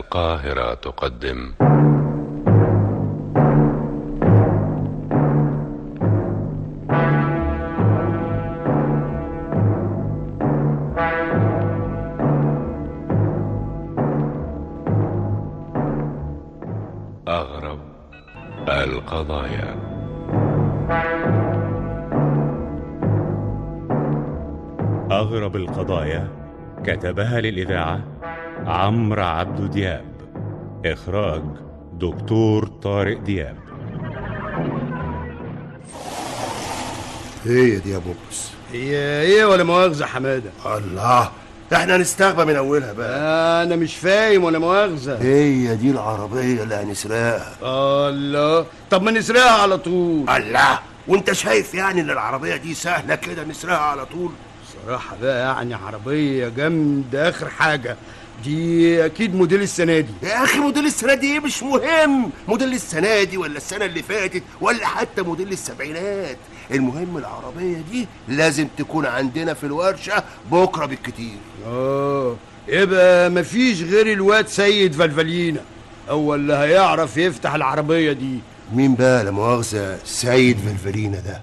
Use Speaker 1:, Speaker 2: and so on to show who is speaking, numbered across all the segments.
Speaker 1: القاهرة تقدم أغرب القضايا
Speaker 2: أغرب القضايا كتبها للإذاعة عمرو عبد دياب إخراج دكتور طارق دياب
Speaker 3: هي دي يا بوبس
Speaker 4: هي ايه ولا مؤاخذة حمادة
Speaker 3: الله احنا هنستغبى من اولها بقى
Speaker 4: انا مش فاهم ولا مؤاخذة
Speaker 3: هي دي العربية اللي هنسرقها
Speaker 4: الله طب ما نسرقها على طول
Speaker 3: الله وانت شايف يعني ان العربية دي سهلة كده نسرقها على طول
Speaker 4: صراحة بقى يعني عربية جامدة اخر حاجة دي اكيد موديل السنة دي
Speaker 3: يا اخي موديل السنة دي ايه مش مهم موديل السنة دي ولا السنة اللي فاتت ولا حتى موديل السبعينات المهم العربية دي لازم تكون عندنا في الورشة بكرة بالكتير
Speaker 4: اه يبقى مفيش غير الواد سيد فالفالينا هو اللي هيعرف يفتح العربية دي
Speaker 3: مين بقى لا مؤاخذة سيد فلفلينا ده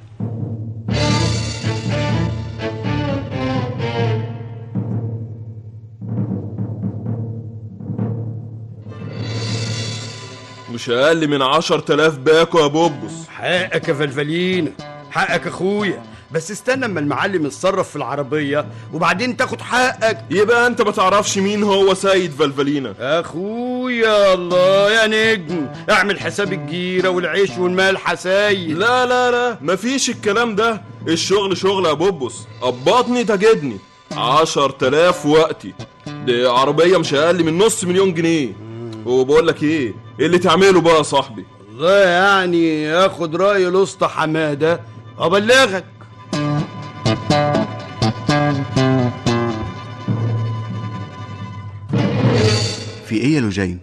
Speaker 5: مش اقل من عشر تلاف باكو يا بوبس
Speaker 4: حقك يا فلفلينا حقك اخويا بس استنى اما المعلم يتصرف في العربية وبعدين تاخد حقك
Speaker 5: يبقى انت ما تعرفش مين هو سيد فالفالينا
Speaker 4: اخويا الله يا نجم اعمل حساب الجيره والعيش والملح سيد
Speaker 5: لا لا لا مفيش الكلام ده الشغل شغل يا بوبس قبضني تجدني عشر تلاف وقتي دي عربية مش اقل من نص مليون جنيه وبقول لك ايه إيه اللي تعمله بقى يا صاحبي
Speaker 4: والله يعني اخد راي الاسطى حماده ابلغك
Speaker 6: في ايه يا لوجين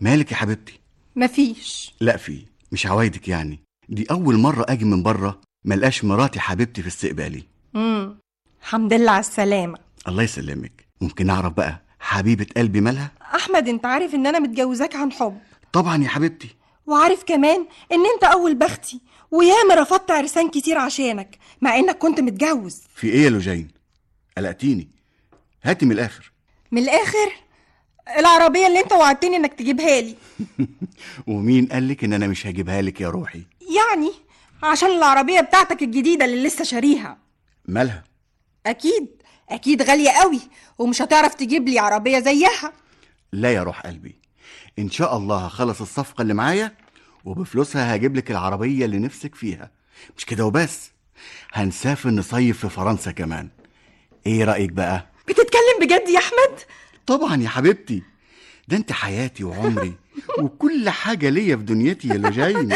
Speaker 6: مالك يا حبيبتي
Speaker 7: مفيش
Speaker 6: لا في مش عوايدك يعني دي اول مره اجي من بره ملقاش مراتي حبيبتي في استقبالي
Speaker 7: مم. حمد لله على السلامة
Speaker 6: الله يسلمك ممكن اعرف بقى حبيبه قلبي مالها
Speaker 7: أحمد أنت عارف إن أنا متجوزاك عن حب
Speaker 6: طبعا يا حبيبتي
Speaker 7: وعارف كمان إن أنت أول بختي وياما رفضت عرسان كتير عشانك مع إنك كنت متجوز
Speaker 6: في ايه يا لوجين قلقتيني هاتي من الاخر
Speaker 7: من الآخر العربية اللي أنت وعدتني إنك تجيبها لي
Speaker 6: ومين قالك ان انا مش هجيبها لك يا روحي
Speaker 7: يعني عشان العربية بتاعتك الجديدة اللي لسه شاريها
Speaker 6: مالها
Speaker 7: أكيد أكيد غالية قوي ومش هتعرف تجيب لي عربية زيها
Speaker 6: لا يا روح قلبي ان شاء الله هخلص الصفقه اللي معايا وبفلوسها هجيب لك العربيه اللي نفسك فيها مش كده وبس هنسافر نصيف في فرنسا كمان ايه رايك بقى
Speaker 7: بتتكلم بجد يا أحمد؟
Speaker 6: طبعا يا حبيبتي ده انت حياتي وعمري وكل حاجه ليا في دنيتي يا لوجين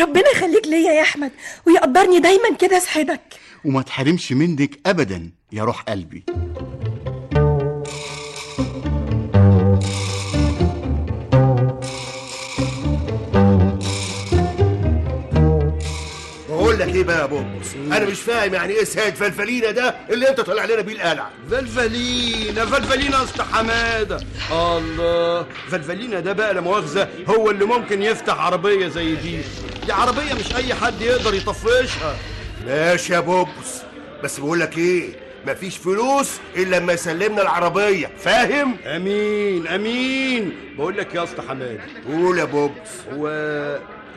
Speaker 7: ربنا يخليك ليا يا أحمد ويقدرني دايما كده أسعدك
Speaker 6: وما تحرمش منك ابدا يا روح قلبي
Speaker 3: بقول لك ايه بقى يا بوبس انا مش فاهم يعني ايه سيد فلفلينا ده اللي انت طالع لنا بيه القلعة
Speaker 4: فالفالينا فالفالينا اسطى حماده الله فالفالينا ده بقى لا مؤاخذه هو اللي ممكن يفتح عربيه زي دي دي عربيه مش اي حد يقدر يطفشها
Speaker 3: ماشي يا بوبس بس بقول لك ايه مفيش فلوس الا لما يسلمنا العربية فاهم
Speaker 4: امين امين بقول لك يا اسطى حماده
Speaker 3: قول يا بوبس
Speaker 4: هو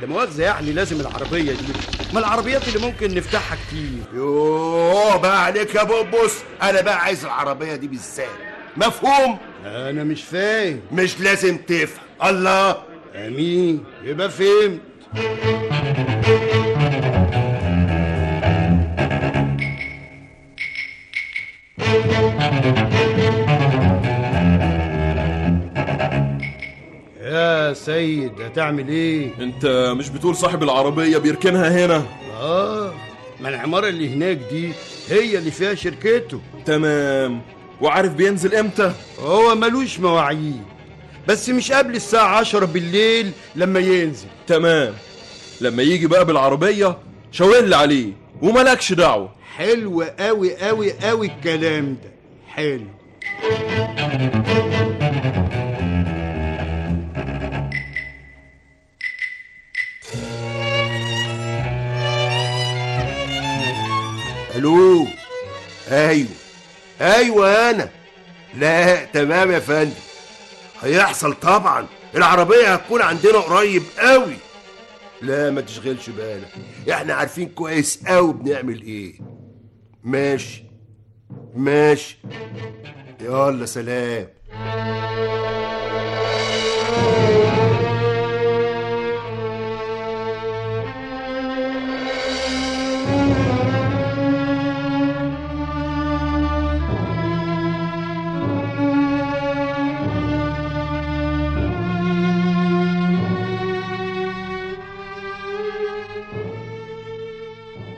Speaker 4: لا مؤاخذه يعني لازم العربيه دي ما العربيات اللي ممكن نفتحها كتير
Speaker 3: يوه بقى عليك يا بوبس انا بقى عايز العربية دي بالذات مفهوم
Speaker 4: انا مش فاهم
Speaker 3: مش لازم تفهم الله
Speaker 4: امين يبقى فهمت يا سيد هتعمل ايه
Speaker 5: انت مش بتقول صاحب العربية بيركنها هنا
Speaker 4: اه ما العماره اللي هناك دي هي اللي فيها شركته
Speaker 5: تمام وعارف بينزل امتى
Speaker 4: هو ملوش مواعيد بس مش قبل الساعة عشرة بالليل لما ينزل
Speaker 5: تمام لما يجي بقى بالعربية شاور عليه وملكش دعوة
Speaker 4: حلو قوي قوي قوي الكلام ده حلو
Speaker 3: الو ايوه ايوه انا لا تمام يا فندم هيحصل طبعا العربيه هتكون عندنا قريب قوي لا ما تشغلش بالك احنا عارفين كويس قوي بنعمل ايه ماشي ماشي يلا سلام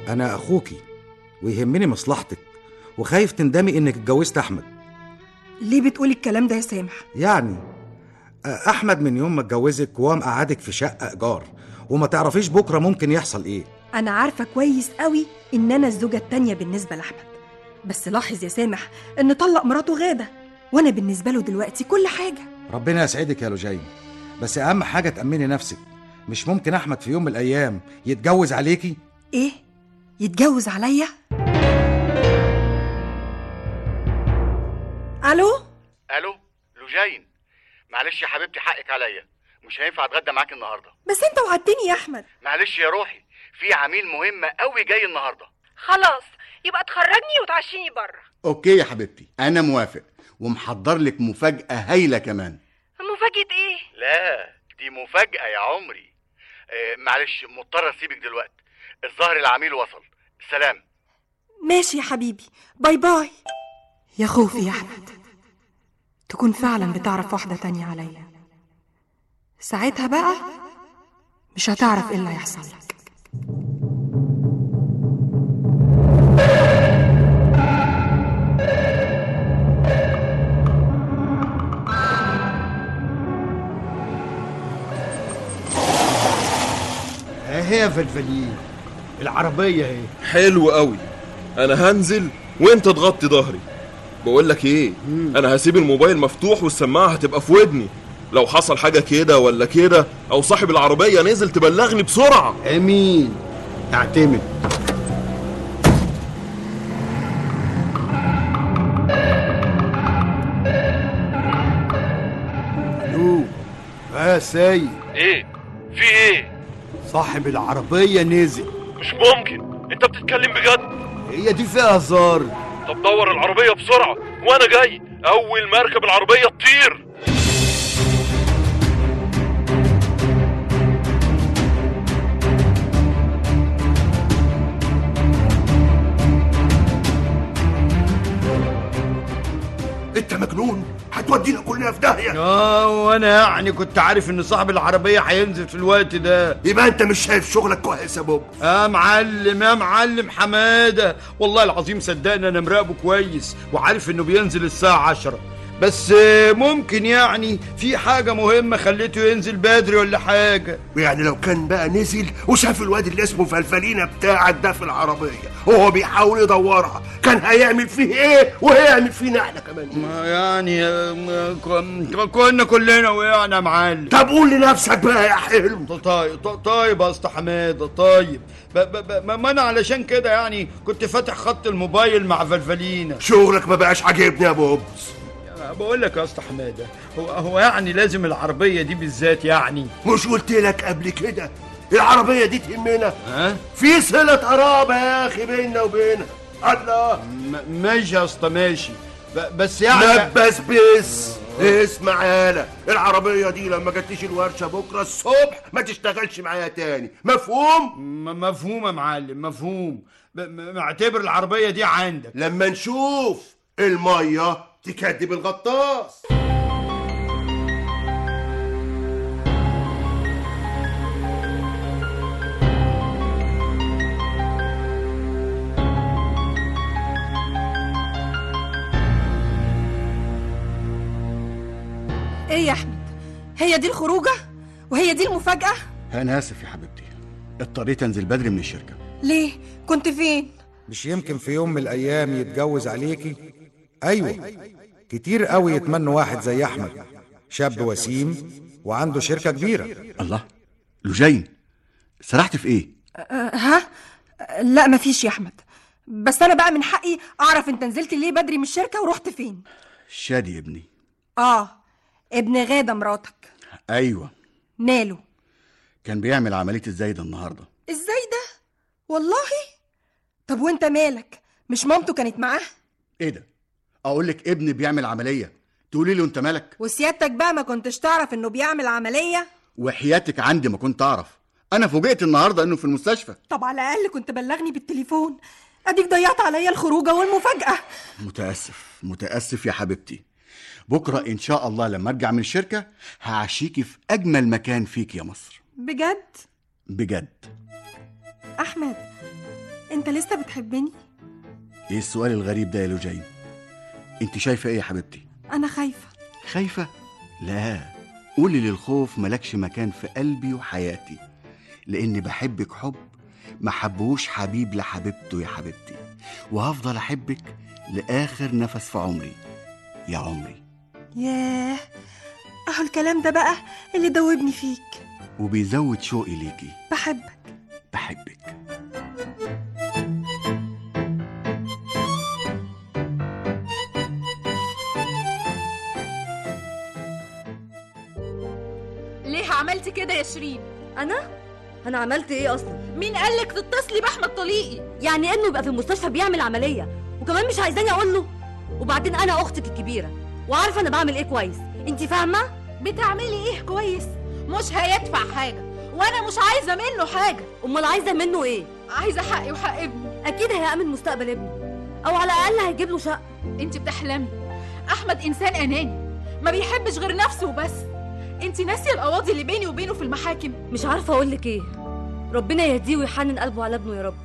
Speaker 8: أنا أخوكي ويهمني مصلحتك وخايف تندمي إنك اتجوزت أحمد
Speaker 7: ليه بتقولي الكلام ده يا سامح
Speaker 8: يعني آه، أحمد من يوم ما اتجوزك وهو مقعدك في شقة إيجار وما تعرفيش بكرة ممكن يحصل إيه
Speaker 7: انا عارفه كويس قوي ان انا الزوجه التانية بالنسبه لاحمد بس لاحظ يا سامح ان طلق مراته غاده وانا بالنسبه له دلوقتي كل حاجه
Speaker 8: ربنا يسعدك يا لوجين بس أهم حاجة تأمني نفسك مش ممكن أحمد في يوم من الأيام يتجوز عليكي
Speaker 7: ايه يتجوز عليا الو
Speaker 9: الو لوجين معلش يا حبيبتي حقك عليا مش هينفع اتغدى معاك النهارده
Speaker 7: بس انت وعدتني يا احمد
Speaker 9: معلش يا روحي في عميل مهم قوي جاي النهارده
Speaker 10: خلاص يبقى تخرجني وتعشيني بره
Speaker 6: اوكي يا حبيبتي انا موافق ومحضر لك مفاجاه هايله كمان
Speaker 10: مفاجأة ايه؟
Speaker 9: لا دي مفاجأة يا عمري آه معلش مضطر اسيبك دلوقتي الظهر العميل وصل سلام
Speaker 7: ماشي يا حبيبي باي باي يا خوفي يا احمد تكون فعلا بتعرف واحده تانية عليا ساعتها بقى مش هتعرف ايه اللي هيحصل لك
Speaker 4: اهي يا فلفلين العربية اهي
Speaker 5: حلو قوي انا هنزل وانت تغطي ظهري بقول لك ايه انا هسيب الموبايل مفتوح والسماعه هتبقى في ودني لو حصل حاجه كده ولا كده او صاحب العربيه نزل تبلغني بسرعه
Speaker 4: امين اعتمد الو اه سيد
Speaker 9: ايه في ايه
Speaker 4: صاحب العربية نزل
Speaker 9: مش ممكن انت بتتكلم بجد
Speaker 4: هي دي فيها هزار
Speaker 9: طب دور العربية بسرعة وانا جاي اول ما اركب العربية تطير
Speaker 3: انت مجنون هتودينا كلنا في داهيه
Speaker 4: اه وانا يعني كنت عارف ان صاحب العربية هينزل في الوقت ده
Speaker 3: يبقى انت مش شايف شغلك كويس يا بوب
Speaker 4: اه معلم اه معلم حمادة والله العظيم صدقني انا مراقبه كويس وعارف انه بينزل الساعة عشرة بس آه، ممكن يعني في حاجة مهمة خليته ينزل بدري ولا حاجة
Speaker 3: ويعني لو كان بقى نزل وشاف الواد اللي اسمه فلفلينة بتاعك ده في العربية وهو بيحاول يدورها كان هيعمل فيه ايه وهيعمل فينا احنا كمان إيه؟
Speaker 4: ما يعني آه، ما كن- كنا كلنا وقعنا يا معلم
Speaker 3: طب قول لنفسك بقى يا حلو
Speaker 4: طيب طيب- طيب يا اسطى حماده طيب ب- ب- ب- ما ما انا علشان كده يعني كنت فاتح خط الموبايل مع فلفلينا
Speaker 3: شغلك ما بقاش عاجبني يا بوبس
Speaker 4: بقول لك يا اسطى حماده هو هو يعني لازم العربيه دي بالذات يعني
Speaker 3: مش قلت لك قبل كده العربية دي تهمنا
Speaker 4: ها
Speaker 3: في صلة قرابة يا أخي بيننا وبينها الله
Speaker 4: م- ماشي يا اسطى ماشي ب- بس يعني
Speaker 3: لبس بس اسمع يالا العربية دي لما جاتليش الورشة بكرة الصبح ما تشتغلش معايا تاني مفهوم؟
Speaker 4: م- مفهوم يا معلم مفهوم ب- م- معتبر العربيه دي عندك
Speaker 3: لما نشوف المية تكدب الغطاس
Speaker 7: ايه يا احمد هي دي الخروجه وهي دي المفاجاه
Speaker 6: انا اسف يا حبيبتي اضطريت انزل بدري من الشركه
Speaker 7: ليه كنت فين
Speaker 8: مش يمكن في يوم من الأيام يتجوز عليكي أيوة كتير قوي يتمنوا واحد زي احمد شاب وسيم وعنده شركه كبيره
Speaker 6: الله لجين سرحت في ايه
Speaker 7: أه ها أه، لا مفيش يا احمد بس انا بقى من حقي اعرف انت نزلت ليه بدري من الشركه ورحت فين
Speaker 6: شادي يا ابني
Speaker 7: اه ابن غاده مراتك
Speaker 6: ايوه
Speaker 7: ماله
Speaker 6: كان بيعمل عمليه الزايده النهارده
Speaker 7: ازاي ده والله طب وانت مالك مش مامته كانت معاه
Speaker 6: ايه ده اقول لك ابني بيعمل عمليه تقولي له انت مالك
Speaker 7: وسيادتك بقى ما كنتش تعرف انه بيعمل عمليه
Speaker 6: وحياتك عندي ما كنت اعرف انا فوجئت النهارده انه في المستشفى
Speaker 7: طب على الاقل كنت بلغني بالتليفون اديك ضيعت عليا الخروجه والمفاجاه
Speaker 6: متاسف متاسف يا حبيبتي بكره ان شاء الله لما ارجع من الشركه هعشيكي في اجمل مكان فيك يا مصر
Speaker 7: بجد
Speaker 6: بجد
Speaker 7: احمد انت لسه بتحبني
Speaker 6: ايه السؤال الغريب ده يا لوجين انت شايفه ايه يا حبيبتي
Speaker 7: انا خايفه
Speaker 6: خايفه لا قولي للخوف ملكش مكان في قلبي وحياتي لاني بحبك حب ما حبهوش حبيب لحبيبته يا حبيبتي وهفضل احبك لاخر نفس في عمري يا عمري
Speaker 7: ياه اهو الكلام ده بقى اللي دوبني فيك
Speaker 6: وبيزود شوقي ليكي
Speaker 7: بحبك
Speaker 6: بحبك
Speaker 11: ليه عملتي كده يا شيرين
Speaker 12: انا انا عملت ايه اصلا
Speaker 11: مين قالك تتصلي باحمد طليقي
Speaker 12: يعني انه يبقى في المستشفى بيعمل عمليه وكمان مش عايزاني اقول له وبعدين انا اختك الكبيره وعارفه انا بعمل ايه كويس انت فاهمه
Speaker 11: بتعملي ايه كويس مش هيدفع حاجه وانا مش عايزه منه حاجه
Speaker 12: امال عايزه منه ايه
Speaker 11: عايزه حقي وحق ابني
Speaker 12: اكيد هيامن مستقبل ابنه او على الاقل هيجيب له شقه
Speaker 11: انت بتحلمي احمد انسان اناني ما بيحبش غير نفسه وبس انت ناسيه القواضي اللي بيني وبينه في المحاكم
Speaker 12: مش عارفه اقول لك ايه ربنا يهديه ويحنن قلبه على ابنه يا رب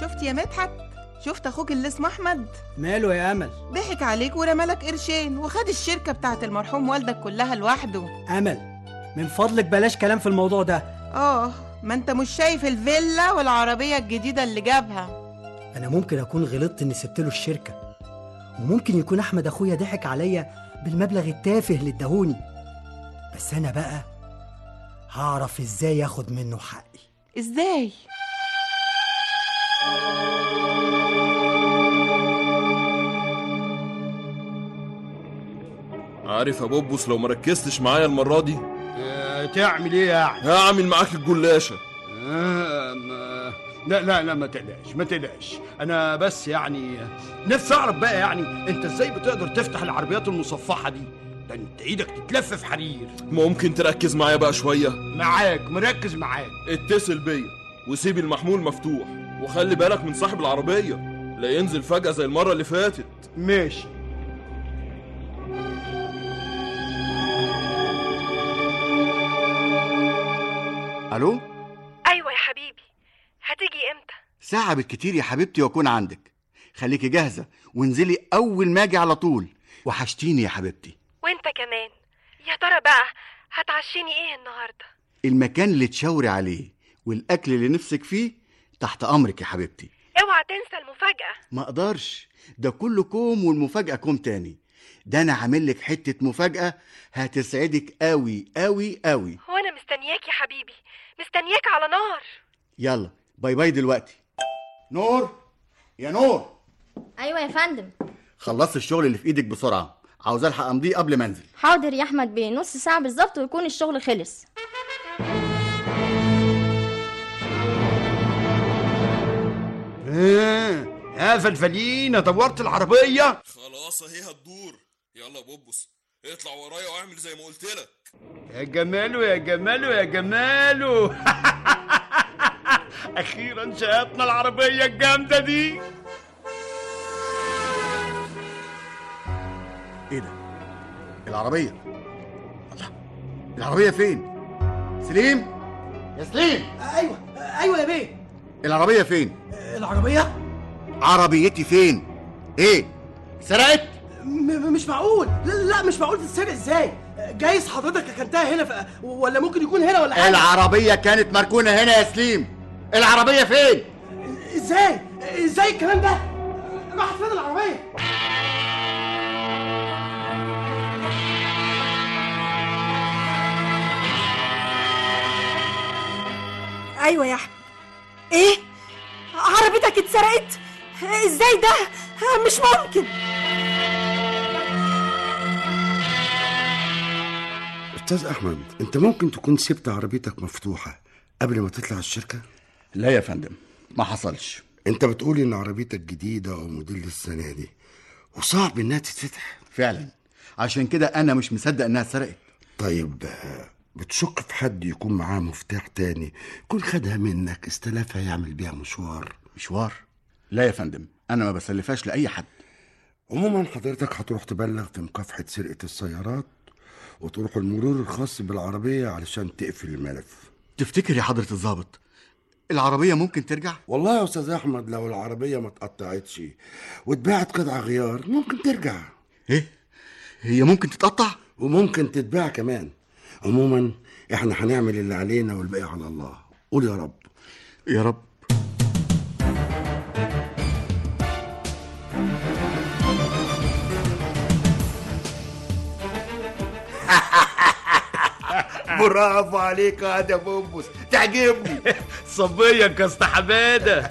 Speaker 13: شفت يا مدحت شفت اخوك اللي اسمه احمد
Speaker 14: ماله يا امل
Speaker 13: ضحك عليك ورمالك قرشين وخد الشركه بتاعت المرحوم والدك كلها لوحده
Speaker 14: امل من فضلك بلاش كلام في الموضوع ده
Speaker 13: اه ما انت مش شايف الفيلا والعربيه الجديده اللي جابها
Speaker 14: انا ممكن اكون غلطت اني سبت له الشركه وممكن يكون احمد اخويا ضحك عليا بالمبلغ التافه اللي اداهوني بس انا بقى هعرف ازاي اخد منه حقي
Speaker 13: ازاي
Speaker 5: عارف يا بوبوس لو ما ركزتش معايا المره دي
Speaker 4: آه، تعمل ايه يعني
Speaker 5: هعمل معاك الجلاشه
Speaker 4: آه، ما- لا لا لا ما تقلقش ما تقلقش انا بس يعني نفسي اعرف بقى يعني انت ازاي بتقدر تفتح العربيات المصفحه دي ده انت ايدك تتلف في حرير
Speaker 5: ممكن تركز معايا بقى شويه
Speaker 4: معاك مركز معاك
Speaker 5: اتصل بيا وسيب المحمول مفتوح وخلي بالك من صاحب العربيه لا ينزل فجاه زي المره اللي فاتت
Speaker 4: ماشي
Speaker 6: الو
Speaker 10: ايوه يا حبيبي هتيجي امتى
Speaker 6: ساعه بالكتير يا حبيبتي واكون عندك خليكي جاهزه وانزلي اول ما اجي على طول وحشتيني يا حبيبتي
Speaker 10: وانت كمان يا ترى بقى هتعشيني ايه النهارده
Speaker 6: المكان اللي تشاوري عليه والاكل اللي نفسك فيه تحت امرك يا حبيبتي
Speaker 10: اوعى تنسى المفاجاه
Speaker 6: ما اقدرش ده كله كوم والمفاجاه كوم تاني ده انا عامل لك حته مفاجاه هتسعدك قوي قوي قوي
Speaker 10: وانا مستنياك يا حبيبي مستنياك على نار
Speaker 6: يلا باي باي دلوقتي نور يا نور
Speaker 15: ايوه يا فندم
Speaker 6: خلصت الشغل اللي في ايدك بسرعه عاوز الحق امضيه قبل ما انزل
Speaker 15: حاضر يا احمد بيه نص ساعه بالظبط ويكون الشغل خلص
Speaker 4: آه، يا فلفلين دورت العربيه
Speaker 5: خلاص اهي هتدور يلا يا بوبوس اطلع ورايا واعمل زي ما قلت لك
Speaker 4: يا جماله يا جماله يا جماله اخيرا شقتنا العربيه الجامده دي
Speaker 6: ايه ده العربيه الله العربيه فين سليم يا سليم
Speaker 14: ايوه ايوه يا بيه
Speaker 6: العربيه فين
Speaker 14: العربيه
Speaker 6: عربيتي فين ايه سرقت
Speaker 14: م- مش معقول لا لا مش معقول تتسرق ازاي جايز حضرتك ركنتها هنا ف... ولا ممكن يكون هنا ولا حاجه
Speaker 16: العربية كانت مركونة هنا يا سليم العربية فين؟
Speaker 14: ازاي ازاي الكلام ده راحت فين العربيه
Speaker 7: ايوه يا احمد ايه عربيتك اتسرقت ازاي ده مش ممكن
Speaker 17: استاذ احمد انت ممكن تكون سبت عربيتك مفتوحه قبل ما تطلع الشركه
Speaker 6: لا يا فندم ما حصلش
Speaker 17: انت بتقولي ان عربيتك جديده او موديل السنه دي وصعب انها تتفتح
Speaker 6: فعلا عشان كده انا مش مصدق انها اتسرقت
Speaker 17: طيب آه، بتشك في حد يكون معاه مفتاح تاني يكون خدها منك استلافها يعمل بيها مشوار
Speaker 6: مشوار لا يا فندم انا ما بسلفهاش لاي حد
Speaker 17: عموما حضرتك هتروح تبلغ في مكافحه سرقه السيارات وتروح المرور الخاص بالعربيه علشان تقفل الملف
Speaker 6: تفتكر يا حضره الضابط العربيه ممكن ترجع
Speaker 17: والله يا استاذ احمد لو العربيه ما اتقطعتش واتباعت قطع غيار ممكن ترجع
Speaker 6: ايه هي ممكن تتقطع
Speaker 17: وممكن تتباع كمان عموما احنا هنعمل اللي علينا والباقي على الله قول يا رب
Speaker 6: يا رب
Speaker 3: برافو عليك يا ده بوبوس تعجبني
Speaker 4: صبيك يا اسطى حماده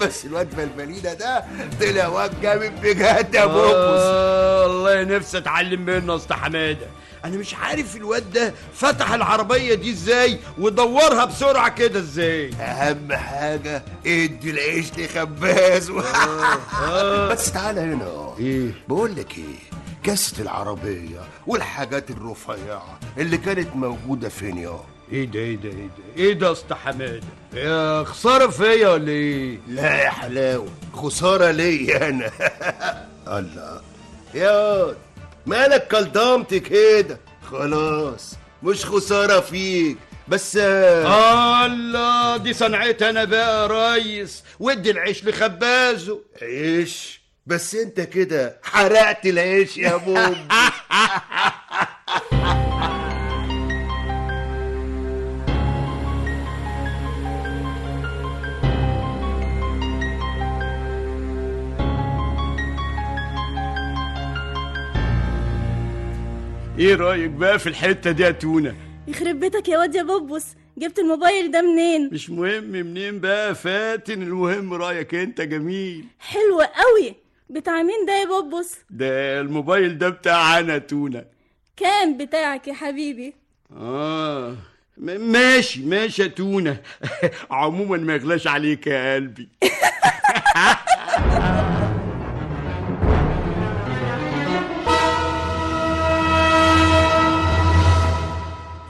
Speaker 3: بس الواد فالفالينا ده طلع واد جامد بجد يا بوبوس
Speaker 4: والله نفسي اتعلم منه يا اسطى حماده انا مش عارف الواد ده فتح العربيه دي ازاي ودورها بسرعه كده ازاي
Speaker 3: اهم حاجه ادي العيش لخباز آه، بس تعالى هنا ايه بقول لك ايه كاسة العربية والحاجات الرفيعة اللي كانت موجودة فين يا
Speaker 4: ايه ده ايه ده ايه ده ايه ده يا اسطى حماده يا خساره
Speaker 3: إيه
Speaker 4: فيا ولا ايه
Speaker 3: لا يا حلاوة خسارة ليا أنا الله يا مالك كلضمت كده خلاص مش خسارة فيك بس آه،
Speaker 4: الله دي صنعتي انا بقى يا ريس ودي العيش لخبازه
Speaker 3: عيش بس انت كده حرقت العيش يا بوب
Speaker 4: ايه رايك بقى في الحته دي يا تونه
Speaker 12: يخرب بيتك يا واد يا بوبوس جبت الموبايل ده منين
Speaker 4: مش مهم منين بقى فاتن المهم رايك انت جميل
Speaker 12: حلو قوي بتاع مين ده يا بوبوس
Speaker 4: ده الموبايل ده بتاع انا تونه
Speaker 12: كام بتاعك يا حبيبي
Speaker 4: اه م- ماشي ماشي يا تونه عموما ما يغلاش عليك يا قلبي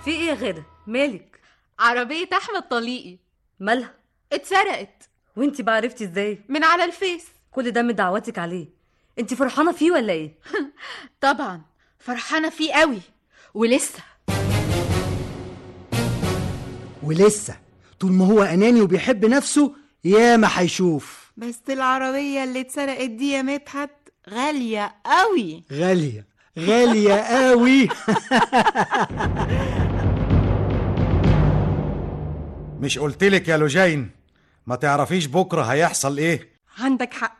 Speaker 12: في ايه يا غدا مالك
Speaker 11: عربية أحمد طليقي
Speaker 12: مالها
Speaker 11: اتسرقت
Speaker 12: وانتي بقى عرفتي ازاي
Speaker 11: من على الفيس
Speaker 12: كل ده من دعواتك عليه انتي فرحانه فيه ولا ايه
Speaker 11: طبعا فرحانة فيه قوي ولسه
Speaker 14: ولسه طول ما هو اناني وبيحب نفسه ياما هيشوف
Speaker 13: بس العربية اللي اتسرقت دي يا مدحت غالية قوي
Speaker 14: غاليه غاليه قوي
Speaker 8: مش قلتلك يا لوجين ما تعرفيش بكره هيحصل ايه
Speaker 7: عندك حق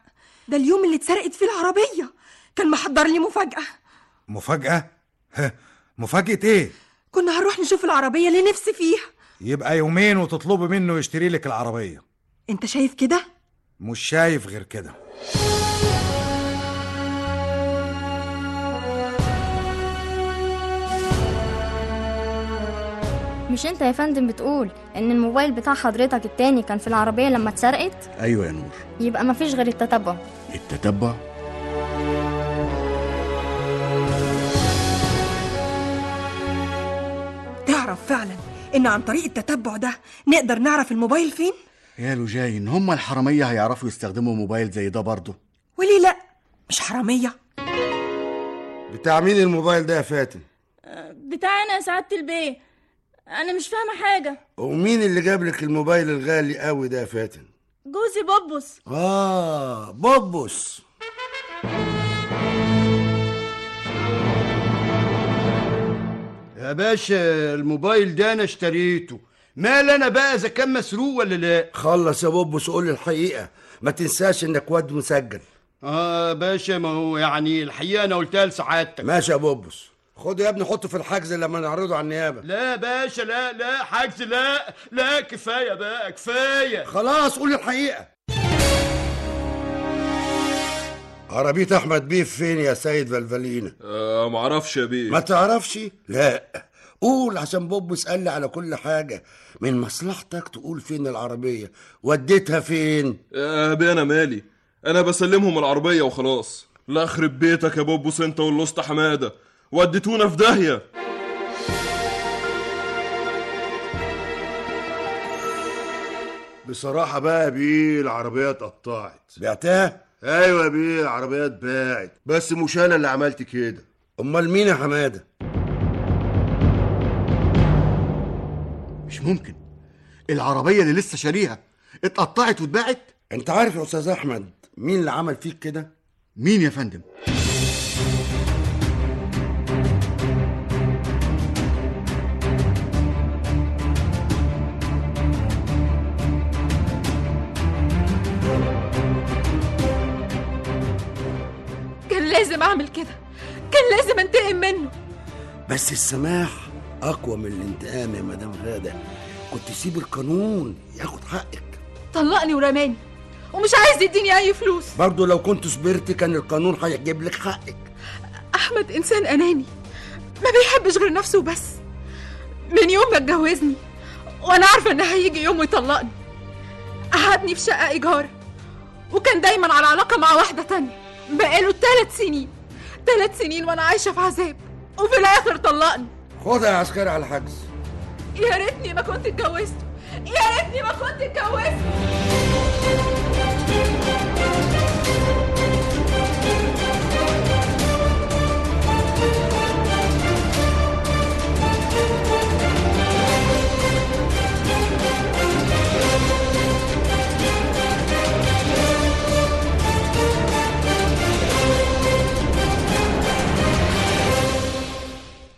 Speaker 7: ده اليوم اللي اتسرقت فيه العربيه كان محضر لي مفاجاه
Speaker 8: مفاجأة؟ هه، مفاجأة إيه؟
Speaker 7: كنا هنروح نشوف العربيه اللي نفسي فيها
Speaker 8: يبقى يومين وتطلبي منه يشتري لك العربية
Speaker 7: انت شايف كده
Speaker 8: مش شايف غير كده
Speaker 15: مش انت يا فندم بتقول ان الموبايل بتاع حضرتك التاني كان في العربية لما اتسرقت
Speaker 6: ايوه يا نور
Speaker 15: يبقى مفيش غير التتبع
Speaker 6: التتبع
Speaker 7: تعرف فعلا ان عن طريق التتبع ده نقدر نعرف الموبايل فين
Speaker 6: يا لوجاين هما الحراميه هيعرفوا يستخدموا موبايل زي ده برضه
Speaker 7: وليه لا مش حراميه
Speaker 17: بتاع مين الموبايل ده يا فاتن
Speaker 12: بتاع انا يا سعاده البيه انا مش فاهمه حاجه
Speaker 17: ومين اللي جاب لك الموبايل الغالي قوي ده يا فاتن
Speaker 12: جوزي بوبوس
Speaker 17: اه بوبوس
Speaker 4: يا باشا الموبايل ده انا اشتريته مال انا بقى اذا كان مسروق ولا لا
Speaker 8: خلص يا بوبس قول الحقيقه ما تنساش انك واد مسجل
Speaker 4: اه يا باشا ما هو يعني الحقيقه انا قلتها لسعادتك
Speaker 8: ماشي يا بوبس خده يا ابني حطه في الحجز لما نعرضه على النيابه
Speaker 4: لا يا باشا لا لا حجز لا لا كفايه بقى كفايه
Speaker 8: خلاص قول الحقيقه عربية أحمد بيه فين يا سيد فلفلينا؟
Speaker 5: آه معرفش يا بيه
Speaker 8: ما تعرفش؟ لا قول عشان بوبس قال لي على كل حاجة من مصلحتك تقول فين العربية وديتها فين؟
Speaker 5: آه، يا بيه أنا مالي أنا بسلمهم العربية وخلاص لا أخرب بيتك يا بوبس أنت واللوست حمادة وديتونا في داهية
Speaker 3: بصراحة بقى يا بيه العربية اتقطعت
Speaker 8: بعتها؟
Speaker 3: ايوه يا بيه العربية اتباعت بس مش انا اللي عملت كده
Speaker 8: امال مين يا حمادة؟
Speaker 18: مش ممكن العربية اللي لسه شاريها اتقطعت واتباعت
Speaker 8: انت عارف يا استاذ احمد مين اللي عمل فيك كده؟
Speaker 18: مين يا فندم؟
Speaker 7: كان لازم أعمل كده كان لازم أنتقم منه
Speaker 8: بس السماح أقوى من الانتقام يا مدام غادة كنت سيب القانون ياخد حقك
Speaker 7: طلقني ورماني ومش عايز يديني أي فلوس
Speaker 8: برضه لو كنت صبرت كان القانون هيجيب لك حقك
Speaker 7: أحمد إنسان أناني ما بيحبش غير نفسه وبس من يوم ما اتجوزني وأنا عارفة إن هيجي يوم ويطلقني قعدني في شقة إيجار وكان دايما على علاقة مع واحدة تانية بقاله ثلاث سنين ثلاث سنين وأنا عايشة في عذاب وفي الآخر طلقني
Speaker 8: خدها يا عسكري على الحجز
Speaker 7: يا ريتني ما كنت اتجوزته يا ريتني ما كنت اتجوزته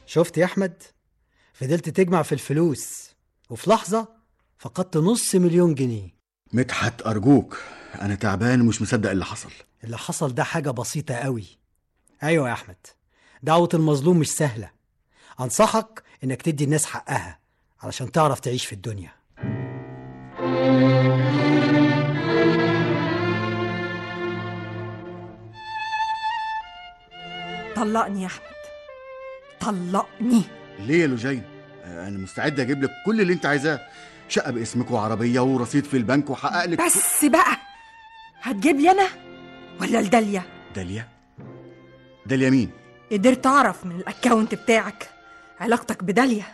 Speaker 19: شفت يا احمد فضلت تجمع في الفلوس وفي لحظه فقدت نص مليون جنيه
Speaker 18: مدحت أرجوك أنا تعبان ومش مصدق اللي حصل
Speaker 19: اللي حصل ده حاجه بسيطه قوي ايوه يا احمد دعوه المظلوم مش سهله انصحك انك تدي الناس حقها علشان تعرف تعيش في الدنيا
Speaker 20: طلقني يا احمد طلقني
Speaker 18: ليه يا لوجين؟ آه، أنا مستعد أجيب لك كل اللي أنت عايزاه شقة باسمك وعربية ورصيد في البنك وحقق لك
Speaker 20: بس بقى هتجيب لي انا ولا لداليا
Speaker 18: داليا داليا مين؟
Speaker 20: قدرت اعرف من الاكاونت بتاعك علاقتك بداليا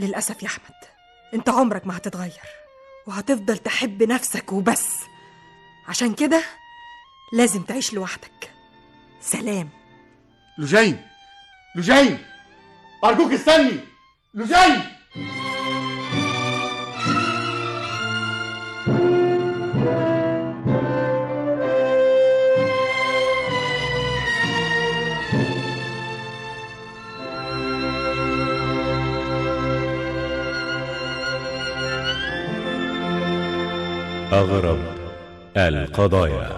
Speaker 20: للاسف يا احمد انت عمرك ما هتتغير وهتفضل تحب نفسك وبس عشان كده لازم تعيش لوحدك سلام
Speaker 6: لوجين لوجين أرجوك استني لوجين
Speaker 1: أغرب القضايا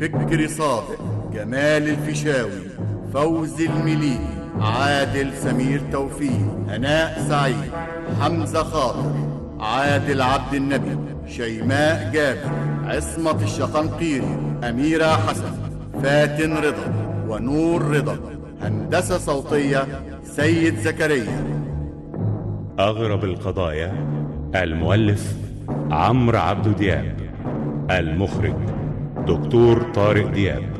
Speaker 6: فكري صادق جمال الفيشاوي فوزي المليكي عادل سمير توفيق هناء سعيد حمزة خاطر عادل عبد النبي شيماء جابر عصمة الشقنقيري أميرة حسن فاتن رضا ونور رضا هندسة صوتية سيد زكريا
Speaker 1: أغرب القضايا المؤلف عمرو عبد دياب المخرج دكتور طارق دياب